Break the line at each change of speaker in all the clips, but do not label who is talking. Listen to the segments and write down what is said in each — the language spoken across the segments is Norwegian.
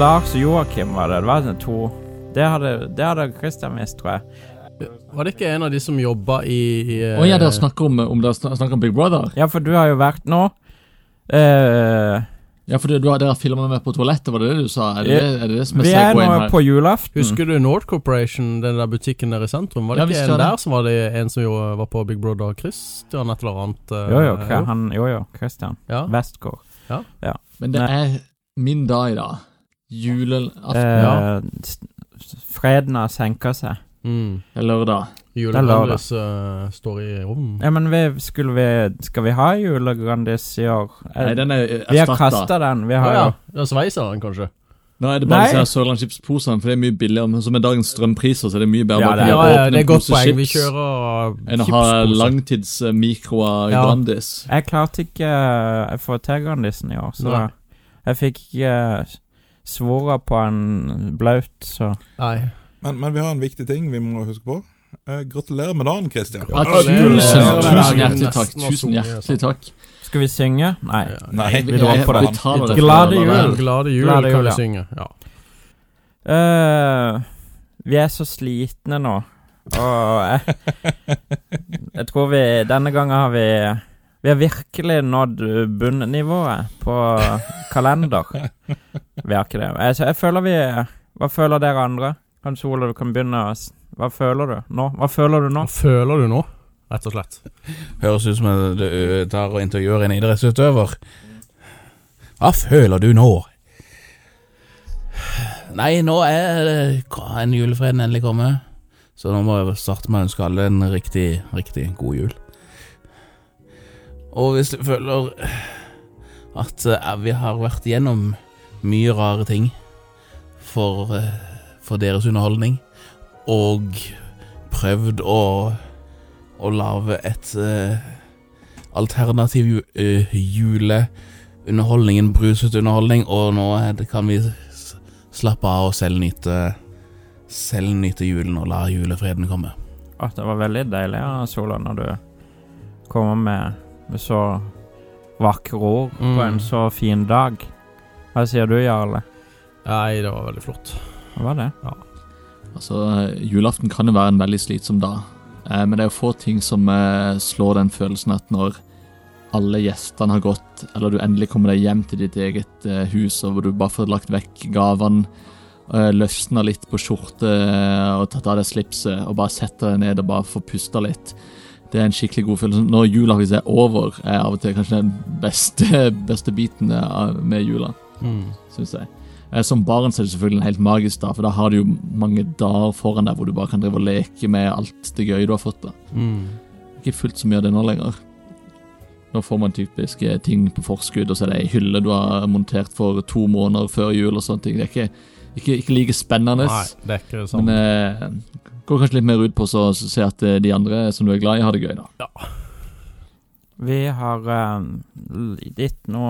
Lars og Joakim var det. Det var sånn to Det hadde, det hadde Christian visst, tror jeg.
Var det ikke en av de som jobba i, i eh,
Å ja, dere snakker om, om, dere snak- snakker om Big Brother?
Ja, for du har jo vært nå. Eh,
Ja, for du, du har- dere filma meg på toalettet, var det det du sa? Er det det, er det, det som er
vi er nå
segwayen her?
på julaften.
Husker du Nord Corporation, den der butikken der i sentrum? Var det
mm.
ikke
Ja, visst
en
var det.
der som var det en som jo eh, var på Big Brother Christian, et eller annet? eh,
Jo, jo, Kre- han, jo, jo, Christian.
Ja.
Westgård.
Men det er min dag i dag. Julaften.
Eh,
ja.
s- Freden har senka seg.
Mm.
Det er lørdag.
Julebrandis eh, står i rom.
Ja, men vi, skulle vi Skal vi ha julegrandis i år? Eh,
Nei, den er
vi har
erstatta.
kasta den. Vi
Å
har
ja.
jo
ja. Sveiser han, kanskje?
Nå er det bare
Nei.
disse her Sørlandsskipsposene, for det er mye billigere. Men så med dagens strømpriser, så er det mye bedre
Ja,
å
det
Ja,
er-
kunne
ja,
åpne
det er
en
godt
pose
poeng. Vi
chips
kjører eh,
Enn å ha
chipspose.
langtidsmikroa
Ja.
Grandis.
Jeg klarte ikke eh, å få til Grandisen i år, så
Nei.
jeg fikk ikke eh, svora på en blaut, så
Nei.
Men, men vi har en viktig ting vi må huske på. Eh, gratulerer med dagen, Christian.
Ja,
Gratulerer.
tusen, tusen hjertelig
Nesten
takk.
var
Tusen
sunget, sant.
hjertelig takk.
Skal vi synge? Nei.
Nei,
vi drar på det.
tar det.
Glade
for
jul.
det.
Glade jul,
Glade jul,
kan vi
ja.
synge. Ja.
Eh, vi er så slitne nå, og jeg, jeg tror vi Denne gangen har vi Vi har virkelig nådd eh, bunnivået på kalender. Vi har ikke det. Jeg, så jeg føler vi Hva føler dere andre? Kanskje Ole, du kan begynne å s- Hva føler du nå? Hva føler du nå?
Hva føler du nå, rett og slett?
Høres ut som jeg ø, tar og intervjuer en idrettsutøver. Hva føler du nå? Nei, nå er det en julefreden endelig kommet. Så nå må jeg starte med å ønske alle en riktig, riktig god jul. Og hvis du føler at eh, vi har vært gjennom mye rare ting for, eh, for deres underholdning, og prøvd å, å lage et eh, alternativ ju, eh, juleunderholdning, en brusete underholdning, og nå er det, kan vi s- slappe av og selv nyte, selv nyte julen og la julefreden komme.
At det var veldig deilig, ja, Sola, når du kommer med, med så vakre ord
Mm.
på en så fin dag. Hva sier du, Jarle?
Nei, det var veldig flott.
Hva var det?
Altså, julaften kan jo være en veldig slitsom dag, eh, men det er jo få ting som eh, slår den følelsen at når alle gjestene har gått, eller du endelig kommer deg hjem til ditt eget eh, hus, og hvor du bare får lagt vekk gavene, eh, løsner litt på skjorte eh, og tatt av deg slipset, og bare setter deg ned og bare får pusta litt. Det er en skikkelig god følelse. Når jula faktisk er over, er av og til kanskje den beste, beste biten eh, med jula
Mm.
synes jeg. Eh, Som barn så er det selvfølgelig en helt magisk dag, for da har du jo mange dager foran deg hvor du bare kan drive og leke med alt det gøye du har fått. da.
Mm.
Ikke fullt så mye av det nå lenger. Nå får man typisk eh, ting på forskudd, og så er det ei hylle du har montert for to måneder før jul. og sånne ting. Det er ikke, ikke, ikke like spennende,
Nei, sånn. det er ikke det
men
samme.
eh, går kanskje litt mer ut på så, så se at eh, de andre som du er glad i, har det gøy. da.
Vi har eh, litt nå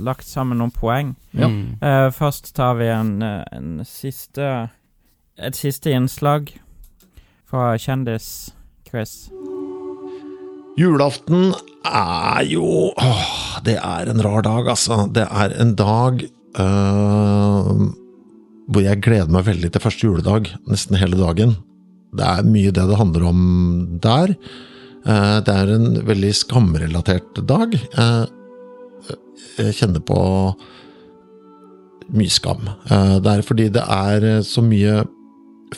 lagt sammen noen poeng.
ja.
Mm.
Eh, først tar vi en, eh, en siste Et siste innslag fra Kjendis-Chris.
Julaften er jo åh, Det er en rar dag, altså. Det er en dag øh, hvor jeg gleder meg veldig til første juledag. Nesten hele dagen. Det er mye det det handler om der. Eh, det er en veldig skamrelatert dag. Eh, jeg kjenner på mye skam. Eh, det er fordi det er så mye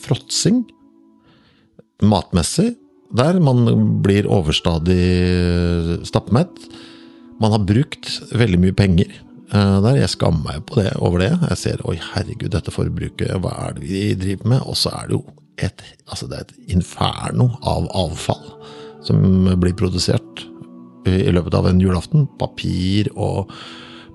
fråtsing matmessig der. Man blir overstadig stappmett. Man har brukt veldig mye penger eh, der. Jeg skammer meg på det, over det. Jeg ser oi, herregud, dette forbruket, hva er det vi driver med? Og så er det jo et, altså det er et inferno av avfall som blir produsert i i løpet av en julaften. Papir og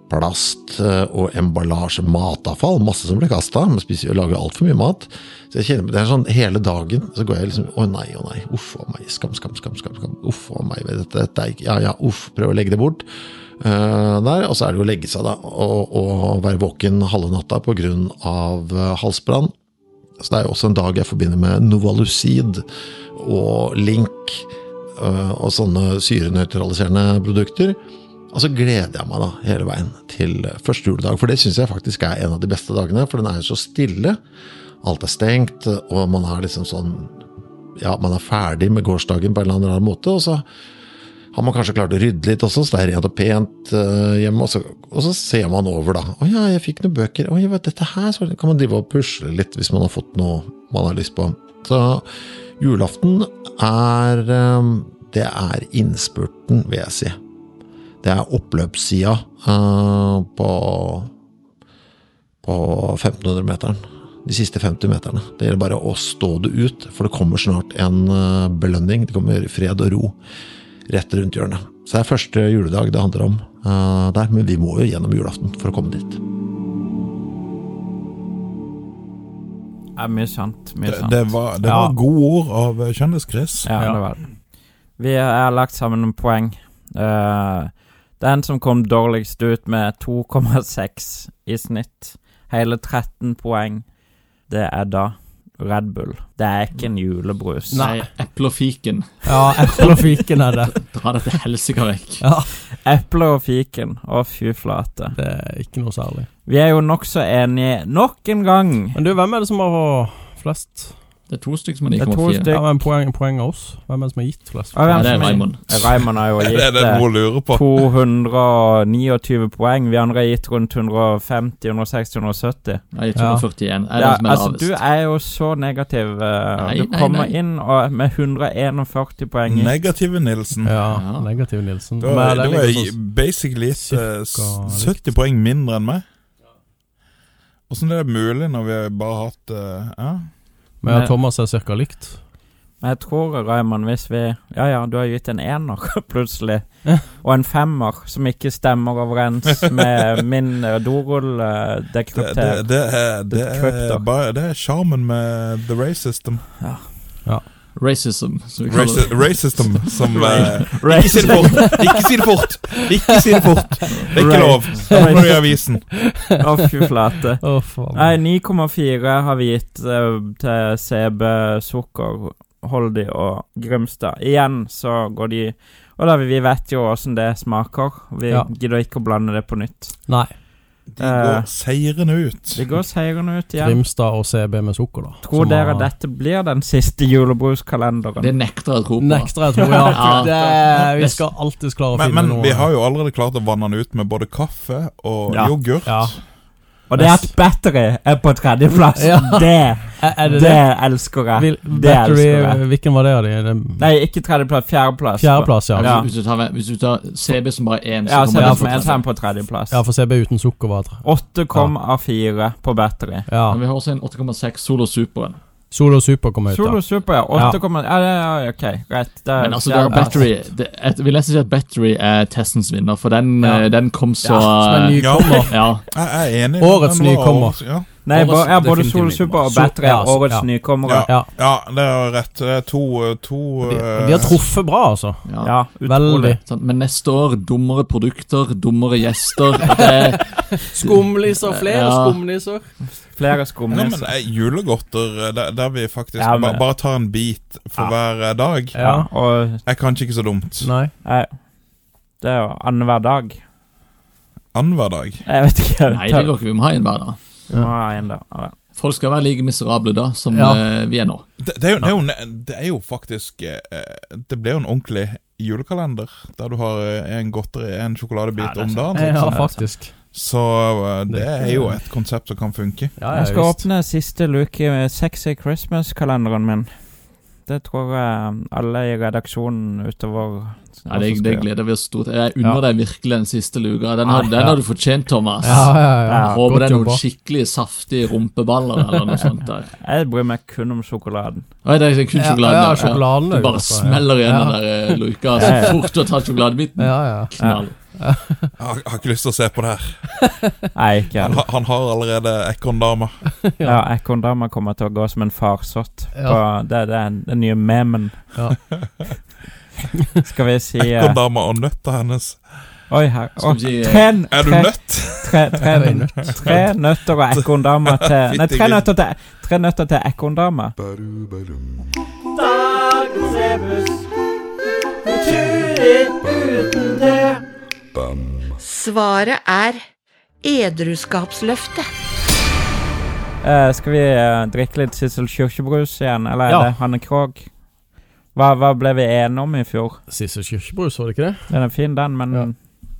plast eh, og emballasje, matavfall, masse som blir kasta. Man spiser og lager altfor mye mat. Så jeg kjenner, det er sånn Hele dagen så går jeg liksom Å nei, å nei. Uff a meg. Skam, skam, skam. skam, skam. Uff a meg. Dette, dette er ikke Ja ja, uff. Prøv å legge det bort. Eh, der, Og så er det jo å legge seg, da. Og, og være våken halve natta pga. Uh, halsbrann. Så det er jo også en dag jeg forbinder med Novalucid eh, og Link øh, og sånne syrenøytraliserende produkter. Og så gleder jeg meg da hele veien til første juledag, for det syns jeg faktisk er en av de beste dagene. For den er jo så stille. Alt er stengt, og man er liksom sånn Ja, man er ferdig med gårsdagen på en eller annen rar måte, og så har man kanskje klart å rydde litt også, så det er rent og pent eh, hjemme. Og så, og så ser man over, da. 'Å ja, jeg fikk noen bøker.' 'Å, jeg vet dette her.' Så kan man drive og pusle litt hvis man har fått noe man har lyst på. Så julaften er eh, Det er innspurten, vil jeg si. Det er oppløpssida eh, på, på 1500-meteren. De siste 50 meterne. Det gjelder bare å stå det ut, for det kommer snart en eh, belønning. Det kommer fred og ro rett rundt hjørnet. Så det er første juledag det handler om eh, der, men vi må jo gjennom julaften for å komme dit.
Ja, mye sant. Mye
Det,
sant.
det var, det
Ja.
var gode ord av eh, Kjendis-Chris.
Ja,
Ja.
det var det. Vi har lagt sammen noen poeng. Eh, den som kom dårligst ut med 2,6 i snitt, hele 13 poeng, det er da Red Bull. Det er ikke en julebrus.
Nei, eple og fiken.
Ja, eple og fiken er det.
Dra det til helsike vekk.
Ja,
Eple og fiken. Å, fy flate.
Det er ikke noe særlig.
Vi er jo nokså enige nok en gang.
Men du, hvem er det som har flest?
Det er to stykker som
Det
er
er to
9,4.
stykker.
Ja, men poeng, poeng av oss. Hvem er det som har gitt flest?
Og hvem
Ja, det er
som-
Raymond.
Raymond har jo
Det er
gitt
det
eh,
noe å lure på.
229 poeng. Vi andre har gitt rundt 150, 160, 170.
Nei, 241
Ja,
er den som er
altså,
lavest.
du er jo så negativ. eh,
Nei,
du
nei,
kommer
nei.
inn og, med 141 poeng.
Negative Nilsen.
Ja,
Ja.
negativ Nilsen.
Da,
Men
da
det
var
ligger
jeg
sånn-
basically et, eh, s-
cirka likt.
70 poeng mindre enn meg. Åssen er det mulig når vi bare har hatt eh, ja?
Men jeg og Thomas er cirka likt.
Men jeg tror, Raymond, hvis vi Ja ja, du har gitt en ener, plutselig.
Ja.
Og en femmer, som ikke stemmer overens med min eh,
det, det,
dorull-dekrypter.
det, er- det, er
Krypter.
bare- det er sjarmen med the race system.
Racism. som vi kaller
Race,
det.
race system som eh, Ikke si
Race.
det fort! Ikke si det fort! Ikke si det fort! Det er ikke lov. Da må du i avisen.
Å, fy flate.
Å, faen.
Nei, 9,4 har vi gitt eh, til CB Sukker, Holdi og Grimstad. Igjen så går de Og da, vi vet jo åssen det smaker. Vi
Ja.
gidder ikke å blande det på nytt.
Nei.
De
Eh.
går seirende ut.
Vi går seirende ut igjen.
Grimstad og CB med sukker, da.
Tror
Som
dere
har-
dette blir den siste julebruskalenderen?
Det nekter jeg å tro på.
Nekter jeg, tror jeg.
Ja.
Det, vi skal alltids klare å
Men,
finne
men
noe
vi har jo allerede klart å vanne den ut med både kaffe og
Ja.
yoghurt.
Ja.
Og det at battery er på tredjeplass,
Ja.
det,
Er, er det
det
det?
elsker jeg.
Vil,
Det elsker jeg.
battery, hvilken var det av de? Det-
Nei, ikke tredjeplass, fjerdeplass.
Fjerdeplass, ja.
Ja.
Hvis, hvis, du tar, hvis du tar CB som bare én,
Ja, så er det
kommer det
som en
fortsatt.
tegn på tredjeplass.
Ja, for CB uten sukker var det.
8,4 på battery.
Ja.
Men vi har også en 8,6 Solo Superen.
Solo Super kom ut,
Solo
ja.
Super, ja. 8, ja. ja, ja, ok, greit. Det er
Men altså, det er
fjerde plass.
battery det, Jeg vil nesten si at battery er testens vinner, for den,
Ja.
eh, den kom så
Ja, som en nykommer.
Ja,
Jeg er enig.
Årets
Den var
nykommer.
årets- Ja.
Nei,
Årets
bo, ja, både
definitivt
Solo
vinner.
Super og
So-
battery
ja,
er
altså,
årets
ja.
nykommere.
ja.
ja, det er rett. Det er to, to
De,
eh,
de har truffet bra, altså.
ja.
Ja, utrolig.
Veldig.
Sant? Men neste år, dummere produkter, dummere gjester det,
Skumnisser,
flere Ja.
skumnisser.
Flere
Nei, men
skumnisser.
eh, Julegodter eh, der, der vi faktisk
Ja, men-
ba, bare tar en bit for
Ja.
hver eh, dag,
Ja,
Ja.
og
er kanskje ikke så dumt.
Nei.
nei, det er jo annenhver dag.
Annenhver dag.
Jeg vet ikke.
Nei, det går ikke. Vi må ha en hver, da.
Vi må ha en, da. Ja.
Folk skal være like miserable da som
Ja.
eh, vi er nå.
Det, det, er jo, det, er jo, ne- det er jo faktisk eh, Det ble jo en ordentlig julekalender, der du har eh, en godteri, en
Ja,
sjokoladebit
det er
om
sant.
dagen.
Ja,
sånn er det.
faktisk.
Så eh,
Det
det
er
er
ikke-
jo et konsept som kan funke.
Ja, ja,
Jeg skal
visst.
åpne siste luke med Sexy Christmas-kalenderen min. Det tror jeg um, alle i redaksjonen utover
Ja, det, det gleder vi oss stort Jeg unner deg virkelig den siste luka. Den har,
Ja.
den har du fortjent, Thomas.
Ja, ja, ja.
Ja,
Håper det
Godt
er
jobba.
noen skikkelig saftige rumpeballer eller noe sånt der.
Jeg bryr meg kun om sjokoladen.
Oi, det er kun
Ja,
sjokoladen.
ja,
der,
sjokoladen er
Du
jo
bare
godt, ja.
smeller igjen
Ja.
den der eh, luka så
Ja, ja.
fort du har tatt sjokoladebiten.
Ja, ja.
Knall.
Jeg har, jeg har ikke lyst til å se på det her.
Nei, ikke
Han,
heller.
har- han har allerede ekorndama.
Ja, Ekorndama kommer til å gå som en farsott.
Ja.
på- Det, det er den nye memen.
Ja.
Skal vi si eh,
Ekorndama og nøtta hennes.
Oi, her.
Skal
Å,
vi si, eh,
tre,
Er du
tre-
nøtt?
tre, tre,
Er det en
tre nøtter og ekorndama til Nei, tre
Fytti
nøtter til, tre nøtter til ekorndama.
Svaret er edruskapsløftet.
Eh, skal vi eh, drikke litt Sissel kirkebrus igjen, eller er
Ja.
det Hanne Krogh? Hva, hva ble vi enige om i fjor?
Sissel Kirkebrus, var det ikke det?
Den er fin, den, men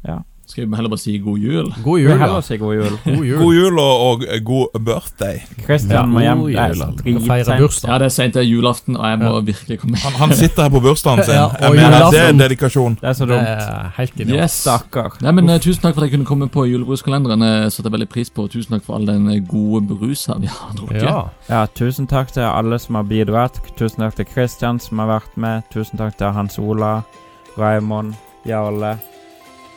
Ja.
Skal vi heller bare si god jul?
God
vi
jul,
heller
ja.
si god jul.
God jul.
God jul og, og god birthday.
Christian må hjem.
god
Det er
jul,
så
alle. Vi skal Feire
dritseint.
bursdag.
Ja, det er seint, det er julaften, og jeg må
Ja.
virkelig komme
Han, han sitter her på bursdagen sin.
Ja,
Ja,
og
men det er
julaften.
dedikasjon.
Det er så
Det
dumt.
er helt genialt.
Yes.
Stakkar.
Nei, men eh, Tusen takk for at jeg kunne komme på julebruskalenderen. eh, setter jeg veldig pris på, og Tusen takk for all den eh, gode brusa vi har drukket.
Ja.
Ja, tusen takk til alle som har bidratt. Tusen takk til Christian som har vært med. Tusen takk til Hans Ola, Raymond, Jarle.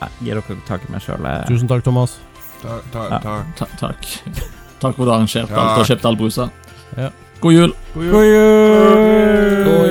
Ja, Gi dere tak i meg eh? sjøl.
Tusen takk, Thomas.
Takk,
Ja.
Ta takk. Takk for at du har arrangert alt og
Takk.
kjøpt all brusa.
Ja.
God jul!
God jul!